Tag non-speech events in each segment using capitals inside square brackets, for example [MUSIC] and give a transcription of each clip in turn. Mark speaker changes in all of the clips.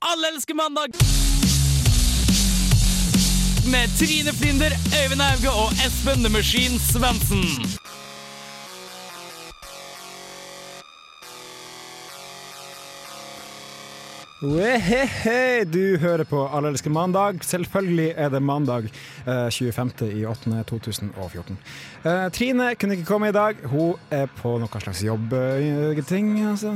Speaker 1: Alle elsker mandag! Med Trine Flinder, Øyvind Auge og Espen The Machine Svendsen.
Speaker 2: Wehehe, du hører på Allelske mandag. Selvfølgelig er det mandag eh, 25. i 8. 2014. Eh, Trine kunne ikke komme i dag. Hun er på noe slags jobbting. altså,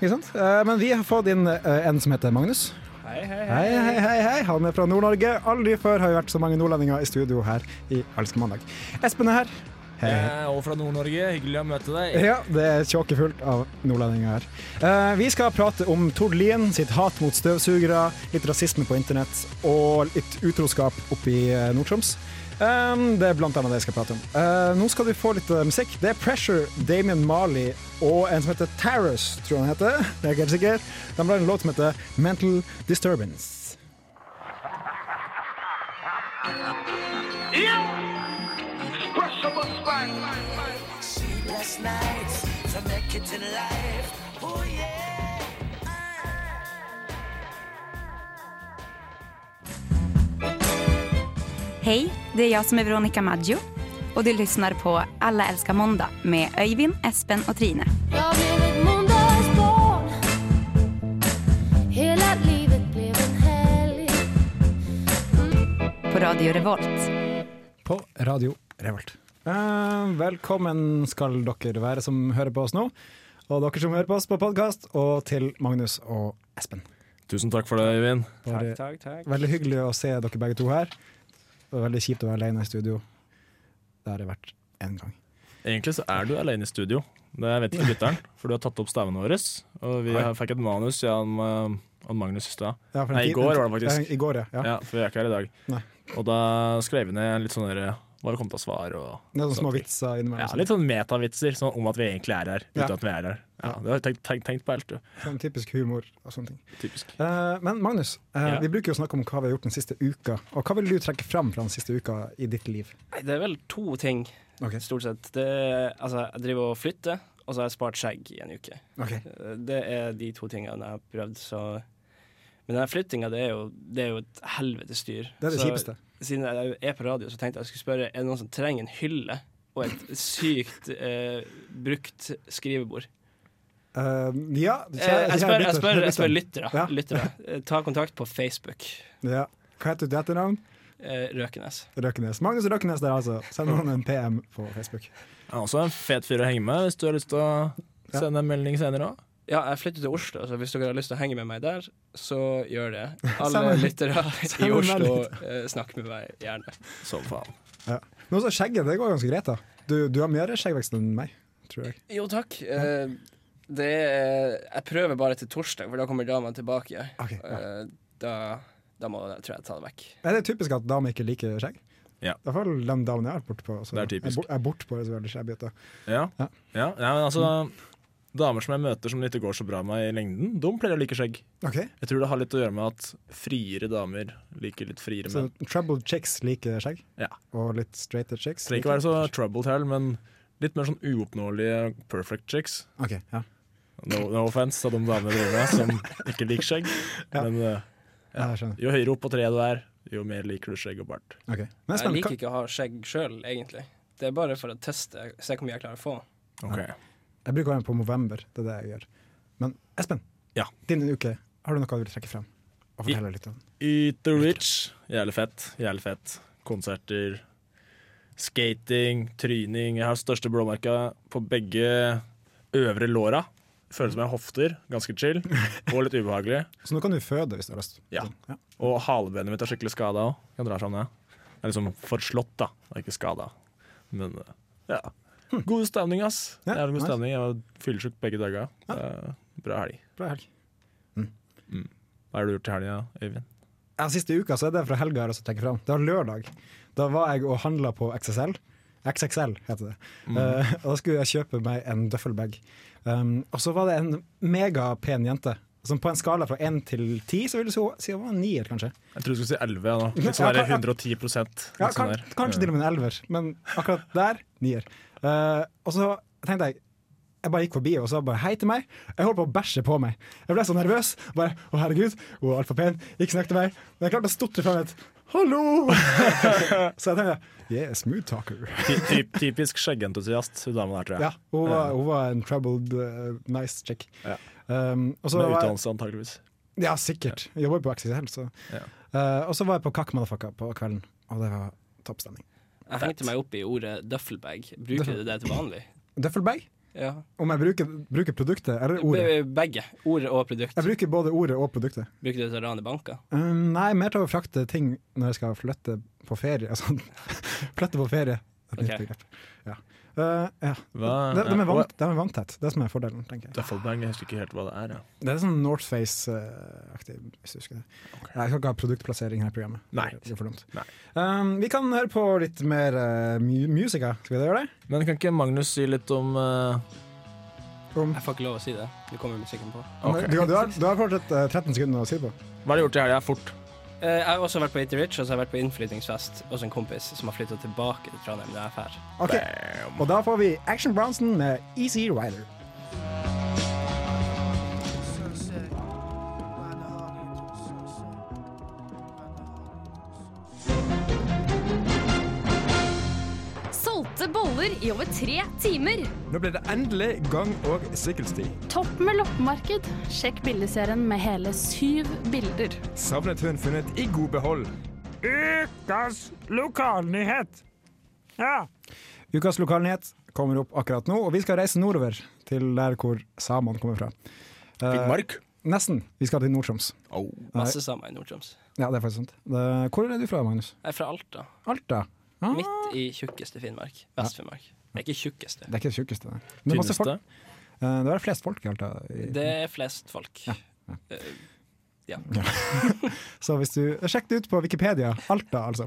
Speaker 2: Ikke sant? Eh, Men vi har fått inn eh, en som heter Magnus. Hei, hei, hei. hei. Han er fra Nord-Norge. Aldri før har vi vært så mange nordlendinger i studio her i Allelske mandag. Espen er her. Hei.
Speaker 3: Jeg er også Eh, fra Nord-Norge. Hyggelig å møte deg.
Speaker 2: Ja, det er tjåket fullt av nordlendinger her. Eh, vi skal prate om Tord Lien, sitt hat mot støvsugere, litt rasisme på internett og litt utroskap oppe i eh, Nord-Troms. Eh, det er blant annet det jeg skal prate om. Eh, nå skal du få litt eh, musikk. Det er Pressure, Damien Marley og en som heter Tarras, tror jeg han heter. Jeg er ikke helt sikker. De har en låt som heter Mental Disturbance.
Speaker 4: Hej, det är jag som är Veronica Maggio och du lyssnar på Alla älskar måndag med Öyvind, Espen och Trine.
Speaker 5: Jag blev ett måndagsbarn Hela livet blev en helg
Speaker 4: På Radio Revolt.
Speaker 2: på Radio Revolt. Eh, velkommen skal dere være som hører på oss nå, og dere som hører på oss på podkast, og til Magnus og Espen.
Speaker 3: Eh, Tusen takk for det, Øyvind.
Speaker 2: Bare Veldig hyggelig å se dere begge to her. Det var veldig kjipt å være alene i studio. Det har jeg vært én gang.
Speaker 3: Egentlig så er du alene i studio. Det vet ikke lytteren, for du har tatt opp stavene våre. Og vi har- fikk et manus ja, om, eh, om Magnus i stad.
Speaker 2: Ja, for en
Speaker 3: Nei, i
Speaker 2: tid-
Speaker 3: går var det faktisk.
Speaker 2: Ja, I går, ja. ja.
Speaker 3: Ja, for vi er ikke her i dag.
Speaker 2: Nei.
Speaker 3: Og da skrev vi ned litt sånn der, hva det kom til å svare og
Speaker 2: Det er sånne små
Speaker 3: sånne ting.
Speaker 2: vitser innimellom.
Speaker 3: Ja,
Speaker 2: sånn.
Speaker 3: litt sånn metavitser sånn om at vi egentlig er her, uten
Speaker 2: Ja.
Speaker 3: at vi er her. Ja, det har jeg tenkt, tenkt, tenkt på helt, du.
Speaker 2: Sånn typisk humor og sånne ting.
Speaker 3: Typisk.
Speaker 2: Eh, men Magnus, eh,
Speaker 3: Ja.
Speaker 2: vi bruker jo å snakke om hva vi har gjort den siste uka. Og hva vil du trekke fram fra den siste uka i ditt liv?
Speaker 6: Nei, det er vel to ting,
Speaker 2: Ok.
Speaker 6: stort sett. Det, altså, jeg driver og flytter, og så har jeg spart skjegg i en uke.
Speaker 2: Ok.
Speaker 6: Det er de to tingene jeg har prøvd, så Men den flyttinga, det er jo, det er jo et helvetes styr.
Speaker 2: Det er det
Speaker 6: så,
Speaker 2: kjipeste.
Speaker 6: Siden jeg er på radio, så tenkte jeg jeg skulle spørre Er det noen som trenger en hylle og et sykt eh, brukt skrivebord.
Speaker 2: Eh, ja,
Speaker 6: Eh, jeg spør, jeg spør, jeg spør lyttere.
Speaker 2: Ja.
Speaker 6: lyttere. Eh, Ta kontakt på Facebook.
Speaker 2: Ja. Hva heter du til etternavn?
Speaker 6: Eh, Røkenes.
Speaker 2: Røkenes. Magnus Røkenes der, altså. Send han en PM på Facebook.
Speaker 3: Han er også en fet fyr å henge med, hvis du har lyst til å
Speaker 2: Ja.
Speaker 3: sende en melding senere òg.
Speaker 6: Ja, jeg flytter til Oslo, så hvis dere har lyst til å henge med meg der, så gjør det.
Speaker 2: [LAUGHS]
Speaker 6: Alle
Speaker 2: Send en-
Speaker 6: lyttere
Speaker 2: [LAUGHS] send
Speaker 6: i
Speaker 2: en
Speaker 6: Oslo,
Speaker 2: melding.
Speaker 6: eh, snakk med meg gjerne.
Speaker 3: Som faen.
Speaker 2: Nå så skjegget, det går ganske greit, da. Du, du har mer skjeggvekst enn meg, tror jeg.
Speaker 6: Jo, takk. Eh, det er, jeg prøver bare til torsdag, for da kommer dama tilbake.
Speaker 2: Ok, ja.
Speaker 6: Eh, da, da må jeg, tror jeg ta det vekk.
Speaker 2: Er det typisk at damer ikke liker skjegg?
Speaker 3: Ja.
Speaker 2: I hvert fall den damen jeg har vært bortpå. så
Speaker 3: Det er typisk.
Speaker 2: Jeg er bortpå så veldig skjeggete.
Speaker 3: Ja.
Speaker 2: Ja.
Speaker 3: Ja. ja, men altså Damer som jeg møter som det ikke går så bra med i lengden, de pleier å like skjegg.
Speaker 2: Ok,
Speaker 3: Jeg tror det har litt å gjøre med at friere damer liker litt friere
Speaker 2: Så
Speaker 3: menn.
Speaker 2: troubled chicks liker skjegg,
Speaker 3: Ja.
Speaker 2: og litt straighte chicks.
Speaker 3: Trenger ikke være så troubled her, men litt mer sånn uoppnåelige perfect chicks.
Speaker 2: Ok, ja.
Speaker 3: No, no offense av de damene jeg driver med som ikke liker skjegg.
Speaker 2: Ja.
Speaker 3: Men eh,
Speaker 2: Ja, jeg skjønner.
Speaker 3: jo høyere opp på treet du er, jo mer liker du skjegg og bart.
Speaker 2: Ok. Men
Speaker 6: Jeg
Speaker 2: Espen,
Speaker 6: liker ikke å ha skjegg sjøl, egentlig. Det er bare for å teste, se hvor mye jeg klarer å få.
Speaker 3: Ok.
Speaker 2: hva- jeg bruker å være med på Movember, det er det jeg gjør. Men Espen,
Speaker 3: Ja.
Speaker 2: din uke, har du noe du vil trekke frem? Og
Speaker 3: I-
Speaker 2: fortelle litt om?
Speaker 3: Eat the Rich. Jævlig fett. Jævlig fett. Konserter. Skating, tryning. Jeg har største blåmerka på begge øvre låra. Føles som jeg har hofter. Ganske chill. Og litt ubehagelig.
Speaker 2: Så nå kan du føde hvis du har lyst.
Speaker 3: Ja.
Speaker 2: ja.
Speaker 3: Og halebenet mitt er skikkelig skada òg. Kan dra fram sånn, det. Jeg er liksom forslått, da. Jeg er ikke skada. Men eh, ja. God stemning, ass.
Speaker 2: Ja,
Speaker 3: Jævlig god
Speaker 2: nice.
Speaker 3: stemning. Jeg var fyllesyk begge dager. Eh, Bra helg.
Speaker 2: Bra helg.
Speaker 3: Hva har du gjort i helga, Øyvind?
Speaker 2: Ja, siste uka så er det fra helga jeg også trekker fram. Det var lørdag. Da var jeg og handla på XSL. XXL heter det.
Speaker 3: Mm.
Speaker 2: Eh, og da skulle jeg kjøpe meg en duffelbag. Um, og så var det en megapen jente. Som på en skala fra én til ti, så ville hun si hun var en nier, kanskje.
Speaker 3: Jeg tror du skulle si 11 nå. Litt sånn
Speaker 2: Ja,
Speaker 3: der 110 litt
Speaker 2: Ja,
Speaker 3: sånn
Speaker 2: kan,
Speaker 3: der.
Speaker 2: kanskje til og med en elver, men akkurat der nier. Eh, og så tenkte jeg Jeg bare gikk forbi og sa bare hei til meg. Jeg holdt på å bæsje på meg. Jeg ble så nervøs. Bare å herregud, hun er altfor pen, ikke snakk til meg. Men jeg klarte å stotre fram et hallo. [LAUGHS] så jeg tenkte yeah, smooth talker.
Speaker 3: Ty- ty- Typisk skjeggentusiast, hun damen her, tror jeg.
Speaker 2: Ja, hun var, hun var en troubled, uh, nice chick.
Speaker 3: Ja.
Speaker 2: Um, og så
Speaker 3: Med
Speaker 2: var jeg-
Speaker 3: utdannelse, antakeligvis.
Speaker 2: ja, sikkert. Jeg jobber jo på Axis Hell, så.
Speaker 3: Ja.
Speaker 2: Eh, og så var jeg på Kakk Motherfucker på kvelden, og det var topp stemning.
Speaker 6: Jeg hengte meg opp i ordet duffelbag. Bruker du det til vanlig?
Speaker 2: Duffelbag?
Speaker 6: Ja.
Speaker 2: Om jeg bruker, bruker produktet, eller ordet?
Speaker 6: Be- Begge. Ord og produkt.
Speaker 2: Jeg bruker både ordet og produktet.
Speaker 6: Bruker du det til å rane banker?
Speaker 2: Um, nei, mer til å frakte ting når jeg skal flytte på ferie. [LAUGHS] Altså, flytte på ferie. Et nytt
Speaker 6: Ok.
Speaker 2: begrep. Ja. Eh, ja.
Speaker 3: Hva-
Speaker 2: De, de,
Speaker 3: ja,
Speaker 2: er vant, de er vanntett. Det er som er fordelen, tenker jeg.
Speaker 3: Duffelbag, jeg husker ikke helt hva det er. Ja.
Speaker 2: Det er sånn Northface-aktig, hvis du husker det. Nei, Jeg skal ikke ha produktplassering her i programmet.
Speaker 3: Nei.
Speaker 2: Det blir for dumt.
Speaker 3: Nei.
Speaker 2: Um, vi kan høre på litt mer eh, mu musica. Skal vi gjøre det?
Speaker 3: Men kan ikke Magnus si litt om eh,
Speaker 2: Om,
Speaker 6: Jeg får ikke lov å si det. Nå kommer musikken på.
Speaker 3: ok.
Speaker 2: du, du har, du har fortsatt eh, 13 sekunder å si på.
Speaker 3: Hva har du gjort i helga? Fort.
Speaker 6: Eh, Jeg har også vært på Eater Rich, og så har jeg vært på innflyttingsfest hos en kompis som har flytta tilbake til Trondheim når jeg er ferdig.
Speaker 2: Ok, Og da får vi Action Bronson med Easy Rider.
Speaker 5: Solgte boller i over tre timer.
Speaker 7: Nå ble det endelig gang- og sykkelsti.
Speaker 8: Topp med loppemarked. Sjekk bildeserien med hele syv bilder.
Speaker 7: Savnet hun funnet i god behold.
Speaker 2: Ukas lokalnyhet kommer opp akkurat nå, og vi skal reise nordover til der hvor samene kommer fra. Eh,
Speaker 3: Finnmark?
Speaker 2: Nesten. Vi skal til Nord-Troms.
Speaker 6: Masse sammen i Nord-Troms.
Speaker 2: Ja, det er faktisk sant. Det, hvor er du fra, Magnus?
Speaker 6: Jeg er fra Alta.
Speaker 2: Alta? Ah,
Speaker 6: Midt i tjukkeste Finnmark. Vest-Finnmark. Det er ikke tjukkeste.
Speaker 2: det er ikke det tjukkeste. nei. Men Det er masse folk.
Speaker 3: Tynneste?
Speaker 2: Eh, det er flest folk i Alta. i-
Speaker 6: Det er flest folk. Eh,
Speaker 2: Så hvis du Sjekk det ut på Wikipedia. Alta, altså.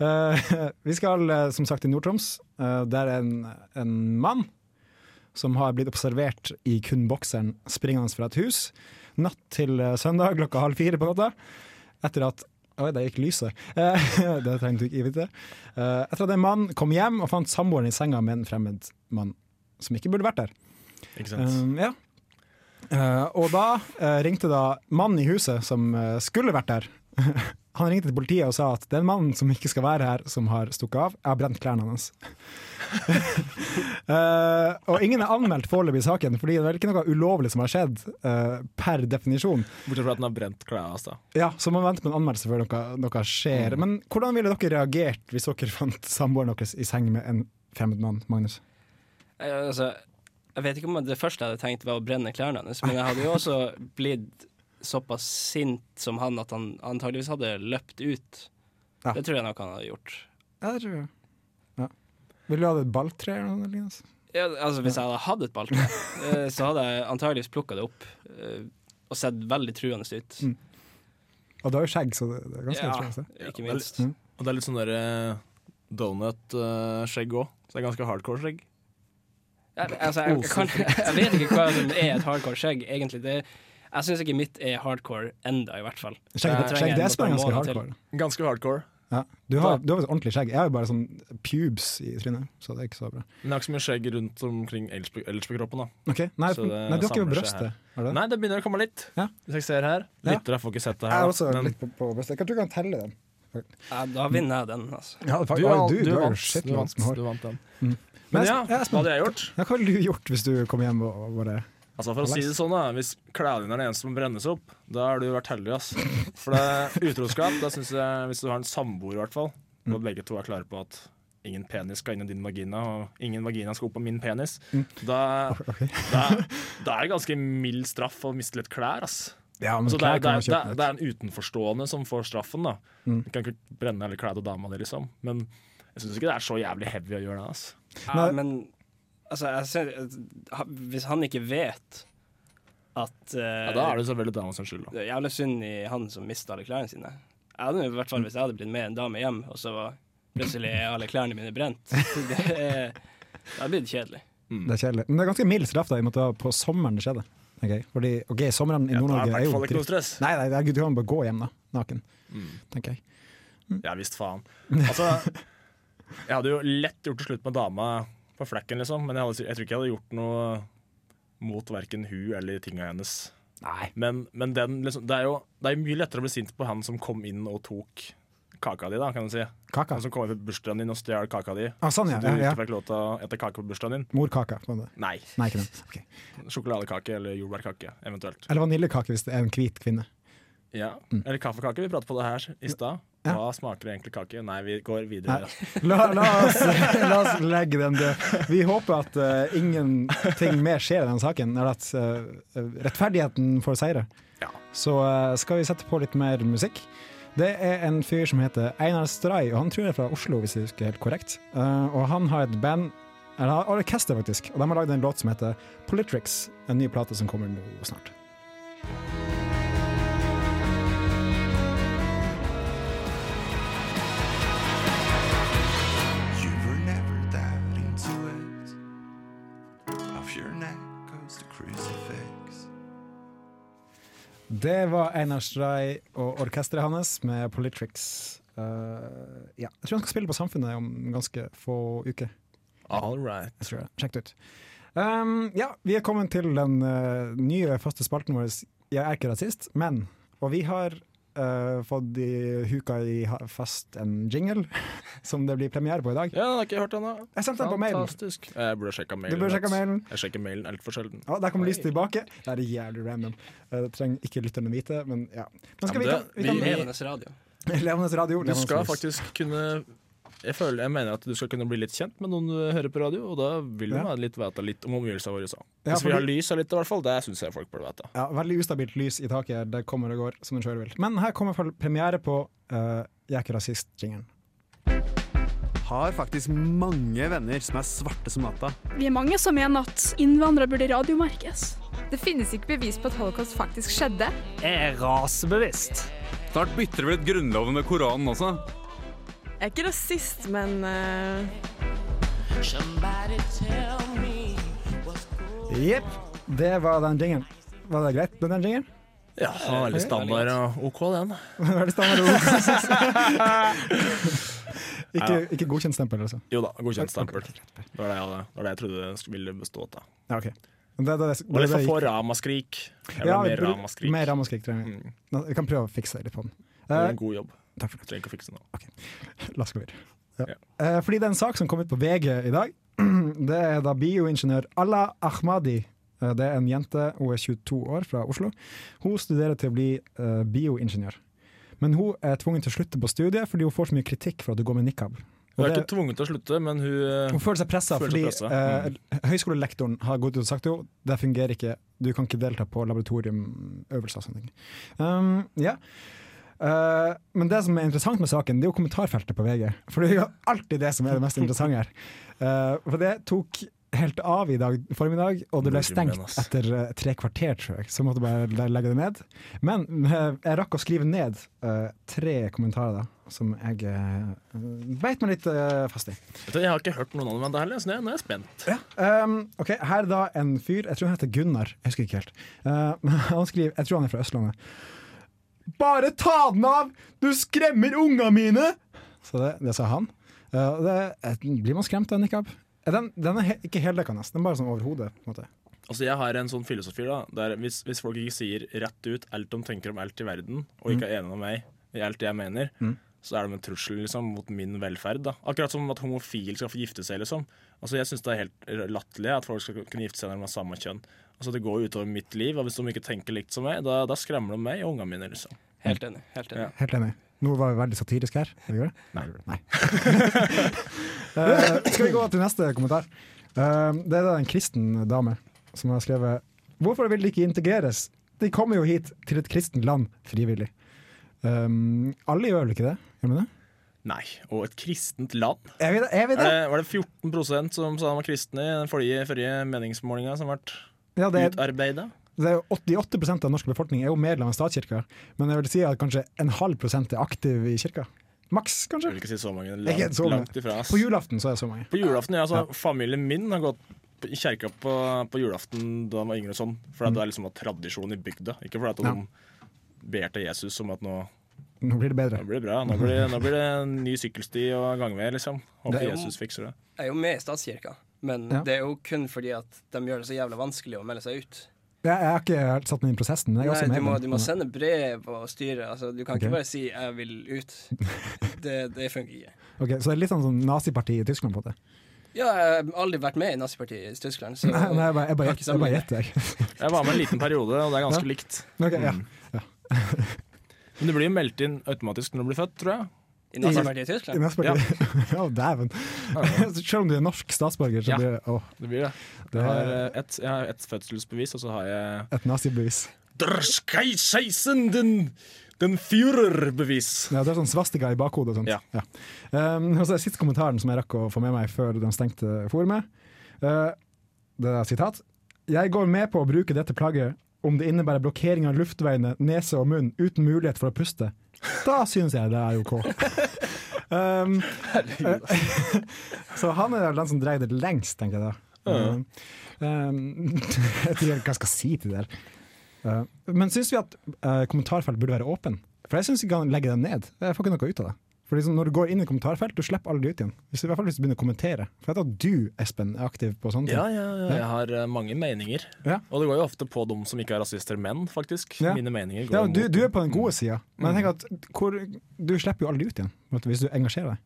Speaker 2: Eh, [LAUGHS] vi skal eh, som sagt til Nord-Troms. Eh, der er en, en mann som har blitt observert i kun bokseren springende fra et hus natt til eh, søndag klokka halv fire på natta. Etter at Oi, der gikk lyset. Eh, [LAUGHS] det trengte du ikke vite. Eh, etter at en mann kom hjem og fant samboeren i senga med en fremmed mann som ikke burde vært der.
Speaker 3: Ikke sant.
Speaker 2: Um, ja. Eh, og da eh, ringte da mannen i huset som eh, skulle vært der. [LAUGHS] Han ringte til politiet og sa at det er en mann som ikke skal være her, som har stukket av. Jeg har brent klærne hans. [LAUGHS] Eh, og ingen er anmeldt foreløpig i saken, fordi det er vel ikke noe ulovlig som har skjedd, eh, per definisjon.
Speaker 3: Bortsett fra at den har brent klærne hans. da.
Speaker 2: Ja, Så man venter på en anmeldelse før noe, noe skjer. Men hvordan ville dere reagert hvis dere fant samboeren deres i seng med en fremmed mann, Magnus?
Speaker 6: jeg- altså, jeg vet ikke om det første jeg hadde tenkt var å brenne klærne hans, men jeg hadde jo også blitt såpass sint som han at han antageligvis hadde løpt ut.
Speaker 2: Ja.
Speaker 6: Det tror jeg nok han hadde gjort.
Speaker 2: Ja, det tror jeg. Ja. Vil du ha et balltre eller noe? Elias?
Speaker 6: Ja, altså Hvis jeg hadde hatt
Speaker 2: [LAUGHS]
Speaker 6: et balltre, eh, så hadde jeg antageligvis plukka det opp eh, og sett veldig truende ut.
Speaker 2: Mm. Og du har jo skjegg, så det, det er ganske utrolig. det.
Speaker 6: ikke
Speaker 3: Ja,
Speaker 6: minst.
Speaker 2: Mm.
Speaker 3: Og det er litt sånn derre donut-skjegg òg. Så det er ganske hardcore skjegg.
Speaker 6: Jeg, altså, jeg, jeg, kan, [LAUGHS] jeg vet ikke hva som er et hardcore skjegg, egentlig. Det, jeg syns ikke mitt er hardcore enda, i hvert fall.
Speaker 2: Skjegg,
Speaker 6: Jeg trenger
Speaker 2: skjegg
Speaker 6: en
Speaker 2: det er spennende
Speaker 6: måte å
Speaker 2: ganske
Speaker 6: måle
Speaker 2: hardcore.
Speaker 3: Ganske hardcore.
Speaker 2: Ja. Du har du har et ordentlig skjegg. Jeg har jo bare sånn pubes i trynet, så det er ikke så bra.
Speaker 3: Men jeg har ikke så mye skjegg rundt omkring ellers på ellers på kroppen. da
Speaker 2: Ok, Nei,
Speaker 3: Så det
Speaker 2: nei du har ikke
Speaker 3: samler seg her.
Speaker 2: brøstet. Har du det?
Speaker 3: Nei, det begynner å komme litt.
Speaker 2: Ja.
Speaker 3: Hvis jeg ser her.
Speaker 2: Ja.
Speaker 3: Lyttere får ikke sett det
Speaker 2: Jeg
Speaker 3: her.
Speaker 2: har også
Speaker 3: da. Men
Speaker 2: litt på, på brøstet. Jeg tror du kan telle den.
Speaker 6: Ja, da vinner jeg den, altså.
Speaker 2: Ja,
Speaker 3: du,
Speaker 2: du,
Speaker 3: er-
Speaker 2: du, du,
Speaker 3: du
Speaker 2: har jo
Speaker 3: vant.
Speaker 2: skitt
Speaker 3: Du vant.
Speaker 2: langt med hår. Mm.
Speaker 3: Du vant den.
Speaker 2: Men
Speaker 3: Men ja,
Speaker 2: Espen-
Speaker 3: hva
Speaker 2: ja, Espen,
Speaker 3: hadde jeg gjort?
Speaker 2: ja, hva ville du gjort hvis du kom hjem og og bare
Speaker 3: Altså for å si det sånn da Hvis klærne dine er det eneste som brennes opp, da har du vært heldig. ass For det er utroskap. Da synes jeg Hvis du har en samboer, i hvert fall,
Speaker 2: Mm.
Speaker 3: og begge to er klare på at ingen penis skal inn i din vagina, og ingen vagina skal opp på min penis,
Speaker 2: Mm. [LAUGHS]
Speaker 3: da, da, da er det ganske mild straff å miste litt klær. ass
Speaker 2: Ja, men
Speaker 3: Så det
Speaker 2: klær
Speaker 3: er, det,
Speaker 2: kan man
Speaker 3: er, det,
Speaker 2: kjøpe Mm.
Speaker 3: er,
Speaker 2: nett.
Speaker 3: det er en utenforstående som får straffen, da. Du kan ikke brenne eller kle av dama di, liksom. Men jeg syns ikke det er så jævlig heavy å gjøre det. ass
Speaker 6: Ja, men altså, jeg ser, ha- hvis han ikke vet at eh,
Speaker 3: ja, Da er det selvfølgelig dama sin skyld, da.
Speaker 6: det er jævlig synd i han som mista alle klærne sine. Jeg hadde jo i hvert fall Hvis jeg hadde blitt med en dame hjem, og så var plutselig er alle klærne mine brent, [LAUGHS] det, er- det hadde blitt kjedelig.
Speaker 2: Det er kjedelig. Men det er ganske mild straff, da, i og med at det var på sommeren det skjedde. Okay. Fordi, ok, Sommeren i
Speaker 3: Ja, da er
Speaker 2: Nord-Norge
Speaker 3: det i
Speaker 2: er
Speaker 3: hvert
Speaker 2: jo
Speaker 3: fall ikke noe Mm.
Speaker 2: dritt.
Speaker 3: stress.
Speaker 2: Nei, nei, det er- du kan bare gå hjem, da. Naken. Tenker jeg.
Speaker 3: Ja visst faen. Altså, jeg hadde jo lett gjort det slutt med dama på flekken, liksom, men jeg, hadde, jeg tror ikke jeg hadde gjort noe mot verken hun eller tinga hennes.
Speaker 2: Nei.
Speaker 3: Men, men den, liksom, det er jo det er jo mye lettere å bli sint på han som kom inn og tok kaka di, da, kan du si.
Speaker 2: Kaka.
Speaker 3: Han som kom inn på bursdagen din og stjal kaka di.
Speaker 2: Ah, sånn, ja.
Speaker 3: Så du
Speaker 2: ja,
Speaker 3: ikke
Speaker 2: ja.
Speaker 3: fikk lov til å ete kake på bursdagen din.
Speaker 2: Morkaka. på en måte.
Speaker 3: Nei.
Speaker 2: Nei, ikke den. Ok.
Speaker 3: Sjokoladekake eller jordbærkake, eventuelt.
Speaker 2: Eller vaniljekake, hvis det er en hvit kvinne.
Speaker 3: Ja. Eller kaffekake. Vi pratet på det her i stad.
Speaker 2: Mm. Ja.
Speaker 3: Hva smaker egentlig kake? Nei, vi går videre.
Speaker 2: La, la, oss, la oss legge den død. Vi håper at eh, ingenting mer skjer i denne saken, eller at eh, rettferdigheten får seire.
Speaker 3: Ja.
Speaker 2: Så eh, skal vi sette på litt mer musikk. Det er en fyr som heter Einar Stray, og han tror jeg er fra Oslo, hvis jeg husker helt korrekt. Eh, og han har et band, eller han har orkester faktisk, og de har lagd en låt som heter Politrix, en ny plate som kommer nå snart.
Speaker 9: You were never that into it. Off your neck goes the crucifix.
Speaker 2: Det var Einar Stray og orkesteret hans med Politrix. Eh, ja. Jeg tror han skal spille på Samfunnet om ganske få uker.
Speaker 3: All right.
Speaker 2: Jeg tror det. Sjekk det ut. Um, ja, vi er kommet til den eh, nye faste spalten vår. Jeg er ikke rasist, men Og vi har eh, fått i huka i ha- fast en jingle [LAUGHS] som det blir premiere på i dag.
Speaker 3: Ja, den har jeg ikke hørt ennå.
Speaker 2: Jeg sendte den på mail.
Speaker 3: Fantastisk. Jeg burde sjekka
Speaker 2: Du
Speaker 3: mailen.
Speaker 2: burde sjekke
Speaker 3: vet.
Speaker 2: mailen.
Speaker 3: Jeg sjekker mailen altfor sjelden.
Speaker 2: Å, der kom lyset tilbake. Det er jævlig random. Eh, Det trenger ikke lytterne vite, men ja. Men skal vi,
Speaker 3: Ja, men det-
Speaker 2: vi kan, vi kan,
Speaker 6: Levende radio.
Speaker 2: [LAUGHS] Levenes radio.
Speaker 3: Du
Speaker 2: Levenes
Speaker 3: skal
Speaker 2: lys.
Speaker 3: faktisk kunne jeg, føler, jeg mener at du skal kunne bli litt kjent med noen du hører på radio, og da vil du
Speaker 2: Ja.
Speaker 3: ha litt vite litt om omgivelsene våre. Så.
Speaker 2: Ja,
Speaker 3: Hvis vi har
Speaker 2: fordi-
Speaker 3: lys her litt, i hvert fall, det syns jeg folk burde vite.
Speaker 2: Ja, veldig ustabilt lys i taket. her. Det kommer og går som en sjøl vil. Men her kommer fol- premiere på eh, Jeg er ikke rasist-jingeren.
Speaker 10: Har faktisk mange venner som er svarte som natta.
Speaker 8: Vi er mange som mener at innvandrere burde radiomerkes.
Speaker 5: Det finnes ikke bevis på at holocaust faktisk skjedde.
Speaker 10: Snart bytter det vel ut Grunnloven med Koranen også.
Speaker 5: Jeg er ikke rasist, men
Speaker 2: Jepp, det var den jingeren. Var det greit med den [LAUGHS] jingeren?
Speaker 3: Ja, veldig standard og OK, den.
Speaker 2: Veldig standard ord. [LAUGHS] ikke, ikke godkjent stempel, altså.
Speaker 3: Jo da, godkjent stempel. Det var det jeg, hadde, det, var det jeg trodde det skulle- ville bestå av.
Speaker 2: Ja, OK. Men Det, det, det,
Speaker 3: Og litt
Speaker 2: det-
Speaker 3: for få ramaskrik. Jeg vil
Speaker 2: Ja,
Speaker 3: ha mer
Speaker 2: bru-
Speaker 3: ramaskrik.
Speaker 2: Mer ramaskrik trenger vi.
Speaker 3: Mm.
Speaker 2: Nå, Vi kan prøve å fikse litt på den.
Speaker 3: Det
Speaker 2: Eh,
Speaker 3: er en god jobb.
Speaker 2: takk for det.
Speaker 3: Trenger ikke å fikse noe. [LAUGHS]
Speaker 2: La oss gå videre. Ja.
Speaker 3: Ja.
Speaker 2: Eh, fordi det er en sak som kom ut på VG i dag. [CLEARS THROAT] Det er da bioingeniør Ala Ahmadi. Eh, Det er en jente, hun er 22 år, fra Oslo. Hun studerer til å bli eh, bioingeniør. Men hun er tvunget til å slutte på studiet fordi hun får så mye kritikk for at hun går med nikab. Og
Speaker 3: Hun er
Speaker 2: det-
Speaker 3: ikke tvunget til å slutte, men hun eh,
Speaker 2: Hun føler seg pressa
Speaker 3: Føler
Speaker 2: fordi
Speaker 3: seg presset, mm.
Speaker 2: eh, høyskolelektoren har gått ut og sagt jo, det fungerer ikke, du kan ikke delta på laboratoriumøvelser og sånne ting. Um, ja. Eh, men det som er interessant med saken, det er jo kommentarfeltet på VG. For det er jo alltid det som er det mest interessante her. Eh, for det tok helt av i dag formiddag, og det ble
Speaker 3: Norge, men
Speaker 2: stengt
Speaker 3: ass.
Speaker 2: etter eh, tre kvarter, tror jeg. Så måtte jeg bare legge det ned. Men eh, jeg rakk å skrive ned eh, tre kommentarer da, som jeg uh, beit meg litt eh, fast i.
Speaker 3: Vet du, Jeg har ikke hørt noen om det heller, så nå er- nå er jeg spent.
Speaker 2: Um, ok, Her er da en fyr, jeg tror han heter Gunnar. Jeg husker ikke helt. Uh, men [LAUGHS] han skriver, Jeg tror han er fra Østlandet. Bare ta den av! Du skremmer unga mine! Så det, det sa han. Uh, og det, eh, blir man skremt av nikab? Eh, Den, den er he ikke heldekkende, den er bare sånn over hodet. på en måte.
Speaker 3: Altså, jeg har en sånn filosofi, da. Der hvis, hvis folk ikke sier rett ut alt de tenker om alt i verden, og ikke
Speaker 2: Mm.
Speaker 3: er enige med meg i alt jeg mener, så er de en trussel liksom, mot min velferd. da. Akkurat som at homofile skal få gifte seg, liksom. Altså, Jeg syns det er helt latterlig at folk skal kunne gifte seg når de har samme kjønn. Altså, Det går jo utover mitt liv, og hvis de ikke tenker likt som meg, da, da skremmer de meg og ungene mine. liksom.
Speaker 6: Helt enig. Helt enig.
Speaker 3: Ja.
Speaker 2: Helt enig. Nå var vi veldig satiriske her. Skal vi gjøre det?
Speaker 3: Nei.
Speaker 2: [LAUGHS] Eh, skal vi gå til neste kommentar? Eh, det er da en kristen dame som har skrevet Hvorfor vil de ikke integreres? De kommer jo hit til et kristent land frivillig. Um, alle gjør vel ikke det? Gjør de det? Eh,
Speaker 3: Nei. Og et kristent land.
Speaker 2: Er vi det? Er vi
Speaker 3: Er
Speaker 2: det?
Speaker 3: det, var det 14 som sa de var kristne i den forrige, forrige meningsmålinga som ble
Speaker 2: Ja, det, er,
Speaker 3: utarbeida?
Speaker 2: det er jo 88 av den norske befolkning er jo medlem av statskirka, men jeg vil si at kanskje en halv prosent er aktiv i kirka. Maks,
Speaker 3: Jeg
Speaker 2: kanskje?
Speaker 3: vil ikke si så mange.
Speaker 2: er
Speaker 3: Langt,
Speaker 2: så mange.
Speaker 3: langt ifra. ass.
Speaker 2: På julaften så er det så mange.
Speaker 3: På julaften, ja, altså, Familien min har gått i kjerka på, på julaften da de var yngre. og sånn For at det er liksom en tradisjon i bygda. Ikke fordi at de
Speaker 2: Mm. Ja.
Speaker 3: ber til Jesus om at nå,
Speaker 2: Nå blir det bedre.
Speaker 3: nå blir det bra. Nå blir det, nå blir det en ny sykkelsti og gangvei. liksom Håper
Speaker 6: Det er jo-
Speaker 3: Jesus fikser det.
Speaker 6: Jeg er jo med i statskirka. Men
Speaker 2: Ja.
Speaker 6: det er jo kun fordi at de gjør det så jævla vanskelig å melde seg ut.
Speaker 2: Jeg, jeg har ikke helt satt meg inn i prosessen, men jeg er også
Speaker 6: Nei,
Speaker 2: med.
Speaker 6: du må, du må sende brev og styre. Altså, du kan
Speaker 2: Ok.
Speaker 6: ikke bare si 'jeg vil ut'.
Speaker 2: [LAUGHS]
Speaker 6: Det, det funker ikke.
Speaker 2: Ok, så det er litt sånn, sånn naziparti i Tyskland, på en måte.
Speaker 6: Ja, jeg har aldri vært med i nazipartiet i Tyskland, så
Speaker 2: Nei, nei, jeg bare- jeg bare
Speaker 6: kan
Speaker 2: jeg
Speaker 6: ikke
Speaker 2: bare
Speaker 6: sammenligne.
Speaker 2: gjetter, jeg.
Speaker 3: Jeg var med en liten periode, og det er ganske likt. Mm.
Speaker 2: Ok, ja.
Speaker 3: Men du blir jo meldt inn automatisk når du blir født, tror jeg.
Speaker 6: I nazipartiet i Tyskland?
Speaker 2: I nazipartiet. [LAUGHS] Ja, dæven. [LAUGHS] Selv om du er norsk statsborger, så
Speaker 3: Ja.
Speaker 2: blir det å,
Speaker 3: Det blir det.
Speaker 2: Det
Speaker 3: Jeg har
Speaker 2: er-
Speaker 3: eh, ett jeg har ett fødselsbevis, og så har jeg
Speaker 2: et nazibevis.
Speaker 3: Der Scheisen, den, den Führer-bevis.
Speaker 2: Ja, det er sånn svastika i bakhodet og sånt.
Speaker 3: Ja.
Speaker 2: Um, og så er siste kommentaren som jeg rakk å få med meg før de stengte forumet. Uh, det er sitat. Jeg går med på å bruke dette plagget om det innebærer blokkering av luftveiene, nese og munn uten mulighet for å puste. Da syns jeg det er OK. Um, [LAUGHS] så han er den som dreier det lengst, tenker jeg da. Um, um, [LAUGHS] jeg vet ikke helt hva jeg skal si til det. her. Uh, men syns vi at uh, kommentarfelt burde være åpen? For jeg syns vi kan legge dem ned. Jeg får ikke noe ut av det. For liksom, når du går inn i kommentarfelt, du slipper aldri ut igjen. Hvis du, I hvert fall hvis du begynner å kommentere. For jeg vet at du, Espen, er aktiv på sånne ting.
Speaker 3: Ja, ja, ja, jeg har eh, mange meninger.
Speaker 2: Ja.
Speaker 3: Og det går jo ofte på dem som ikke er rasister, men faktisk.
Speaker 2: Ja.
Speaker 3: Mine meninger går
Speaker 2: Ja, du,
Speaker 3: imot Mm.
Speaker 2: du
Speaker 3: dem.
Speaker 2: er på den gode sida, men jeg tenker at hvor, du slipper jo aldri ut igjen på en måte, hvis du engasjerer deg.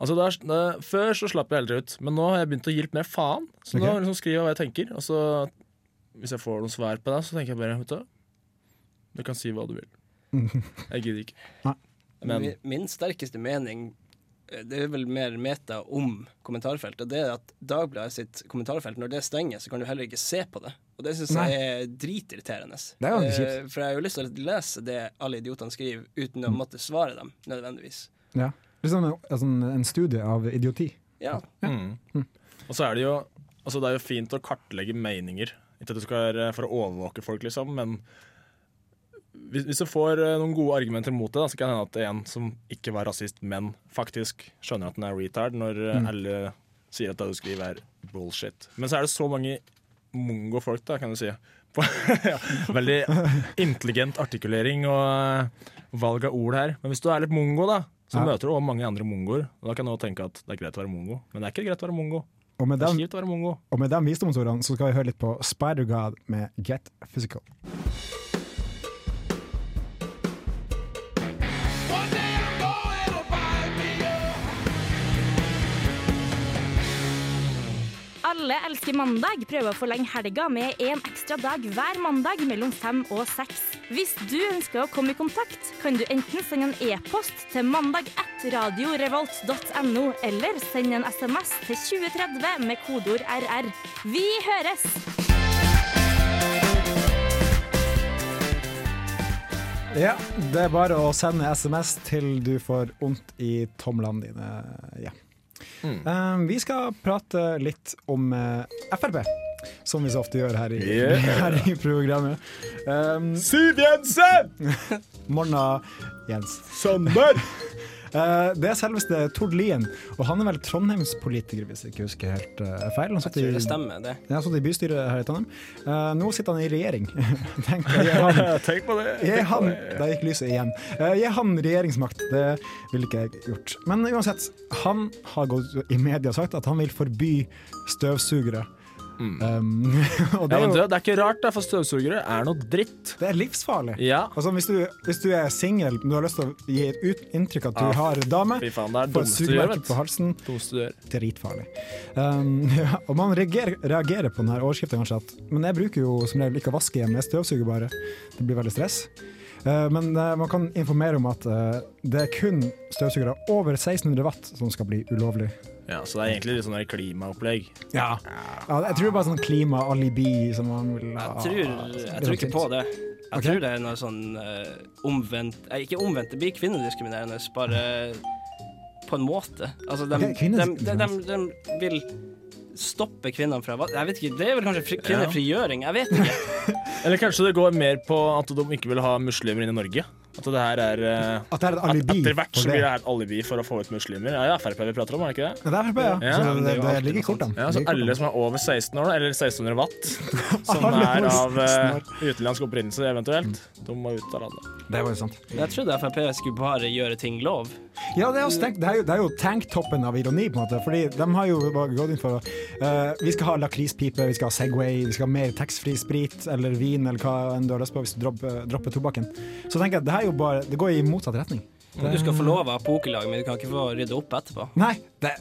Speaker 3: Altså, det er, det, før så slapp jeg heller ut, men nå har jeg begynt å gi litt mer faen. Så nå
Speaker 2: Ok.
Speaker 3: liksom skriver jeg hva jeg tenker, og så hvis jeg får noen svar på det, så tenker jeg bare vet du, hva? du kan si hva du vil.
Speaker 2: [LAUGHS]
Speaker 3: Jeg gidder ikke.
Speaker 2: Nei.
Speaker 3: Men
Speaker 6: Mi- Min sterkeste mening eh, det er vel mer meta om kommentarfeltet. Det er at Dagbladet sitt kommentarfelt, når det stenger, så kan du heller ikke se på det. Og det syns jeg er dritirriterende.
Speaker 2: Det er jo
Speaker 6: Eh,
Speaker 2: kjipt.
Speaker 6: For jeg har jo lyst til å lese det alle idiotene skriver, uten å måtte svare dem, nødvendigvis.
Speaker 2: Ja. Liksom en, altså en- en studie av idioti.
Speaker 6: Ja.
Speaker 3: Mm. Og så er det jo altså Det er jo fint å kartlegge meninger. Ikke at du skal være for å overvåke folk, liksom, men hvis, hvis du får eh, noen gode argumenter mot det, da, så kan det hende at en som ikke var rasist, men faktisk skjønner at den er retard, når eh, alle sier at det du skriver er bullshit. Men så er det så mange mongo-folk, da, kan du si. [LAUGHS] På, ja, veldig intelligent artikulering og eh, valg av ord her. Men hvis du er litt mongo, da, så
Speaker 2: Ja.
Speaker 3: møter du også mange andre mongoer. Og da kan du også tenke at det er greit å være mongo, men det er ikke greit å være mongo.
Speaker 2: Og med
Speaker 3: Det er
Speaker 2: dem,
Speaker 3: kjipt å være mongo.
Speaker 2: og med dem visdomsordene så skal vi høre litt på Spider-God med Get Physical.
Speaker 11: Alle elsker mandag prøver å forlenge helga med en ekstra dag hver mandag mellom fem og seks. Hvis du ønsker å komme i kontakt, kan du enten sende en e-post til mandag1radiorevolt.no, eller sende en SMS til 2030 med kodeord RR. Vi høres!
Speaker 2: Ja, det er bare å sende SMS til du får vondt i tomlene dine. Ja.
Speaker 3: Mm.
Speaker 2: Um, vi skal prate litt om eh, Frp, som vi så ofte gjør her i,
Speaker 3: Yeah.
Speaker 2: [LAUGHS] her i programmet. Um,
Speaker 3: Siv Jensen!
Speaker 2: Morna, Jens.
Speaker 3: Sander!
Speaker 2: Eh, det er selveste Tord Lien, og han er vel Trondheimspolitiker, hvis jeg ikke husker helt eh, feil. Han
Speaker 6: Jeg
Speaker 2: satt i,
Speaker 6: tror det stemmer, det.
Speaker 2: Ja, han satt i bystyret her i Trondheim. Eh, nå sitter han i regjering. [LAUGHS] Tenk, jeg har
Speaker 3: Tenk på det.
Speaker 2: Gi han, der gikk lyset igjen. Eh, Gi han regjeringsmakt. Det ville ikke jeg gjort. Men uansett, han har gått i media og sagt at han vil forby støvsugere. Um, [LAUGHS] og
Speaker 3: Mm. Ja,
Speaker 2: det er,
Speaker 3: men du,
Speaker 2: jo,
Speaker 3: det er ikke rart, da, for støvsugere er noe dritt.
Speaker 2: det er livsfarlig.
Speaker 3: Ja.
Speaker 2: Altså, hvis, du, hvis du er singel, men du har lyst til å gi et ut, inntrykk at du
Speaker 3: Ah,
Speaker 2: har dame,
Speaker 3: Fy faen, det er det
Speaker 2: får et
Speaker 3: dummeste du gjør,
Speaker 2: sugemerke
Speaker 3: vet
Speaker 2: på halsen,
Speaker 3: du. Dummeste du gjør.
Speaker 2: dritfarlig. Um, [LAUGHS] ja, og man reagerer, reagerer på denne overskriften kanskje at Men jeg bruker jo som regel ikke å vaske igjen, jeg støvsuger bare. Det blir veldig stress. Eh, men eh, man kan informere om at eh, det er kun støvsugere over 1600 watt som skal bli ulovlig.
Speaker 3: Ja, så det er egentlig litt sånn der klimaopplegg.
Speaker 2: Ja. jeg tror det er bare sånn klimaalibi som man vil ha. sånn
Speaker 6: Jeg tror, jeg tror ikke på det. Jeg tror det er noe sånn eh, omvendt eh, Ikke omvendt, det blir kvinnediskriminerende, bare på en måte. Altså, de,
Speaker 2: Ok, kvinnediskriminerende.
Speaker 6: de, de, de vil stoppe kvinnene fra hva- Jeg vet ikke, det er vel kanskje fri, kvinnefrigjøring? Jeg vet ikke.
Speaker 3: Eller kanskje det går mer på at de ikke vil ha muslimer inn i Norge. At det her er eh,
Speaker 2: At det er et alibi
Speaker 3: Etter hvert
Speaker 2: for det.
Speaker 3: så blir det her et alibi for å få ut muslimer. Ja, det er Frp vi prater om, er det ikke det?
Speaker 2: Ja, det er Frp, ja.
Speaker 3: Ja,
Speaker 2: så
Speaker 6: men
Speaker 2: det,
Speaker 6: det er jo
Speaker 2: det
Speaker 6: alltid
Speaker 2: ligger i
Speaker 6: noe sånt.
Speaker 2: kortene.
Speaker 3: Ja, så alle som er over 16 år, da, eller 1600
Speaker 2: [LAUGHS]
Speaker 3: watt, som
Speaker 2: Alle over
Speaker 3: er av eh,
Speaker 2: 16
Speaker 3: utenlandsk opprinnelse eventuelt, de må ut av landet.
Speaker 2: Det var jo sant.
Speaker 6: Jeg trodde Frp skulle bare gjøre ting lov.
Speaker 2: Ja, det er, også tenkt, det er, jo, det er jo tanktoppen av ironi, på en måte. Fordi de har jo bare gått inn for eh, Vi skal ha lakrispipe, vi skal ha Segway, vi skal ha mer taxfree sprit eller vin eller hva enn du har lyst på hvis du dropper, dropper tobakken. Så tenker jeg at det her er jo bare Det går i motsatt retning.
Speaker 6: Du skal få lov av pokerlag, men du kan ikke få rydde opp etterpå.
Speaker 2: Nei, det,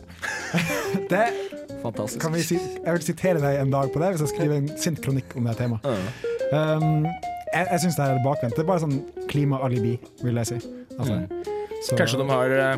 Speaker 2: det [LAUGHS]
Speaker 6: Fantastisk.
Speaker 2: kan vi si, Jeg vil sitere deg en dag på det hvis jeg skriver en sint kronikk om det her temaet. Um, jeg jeg syns det her er bakvendt. Det er bare sånn klimaalibi, vil jeg si. Altså, så-
Speaker 3: Kanskje de har eh,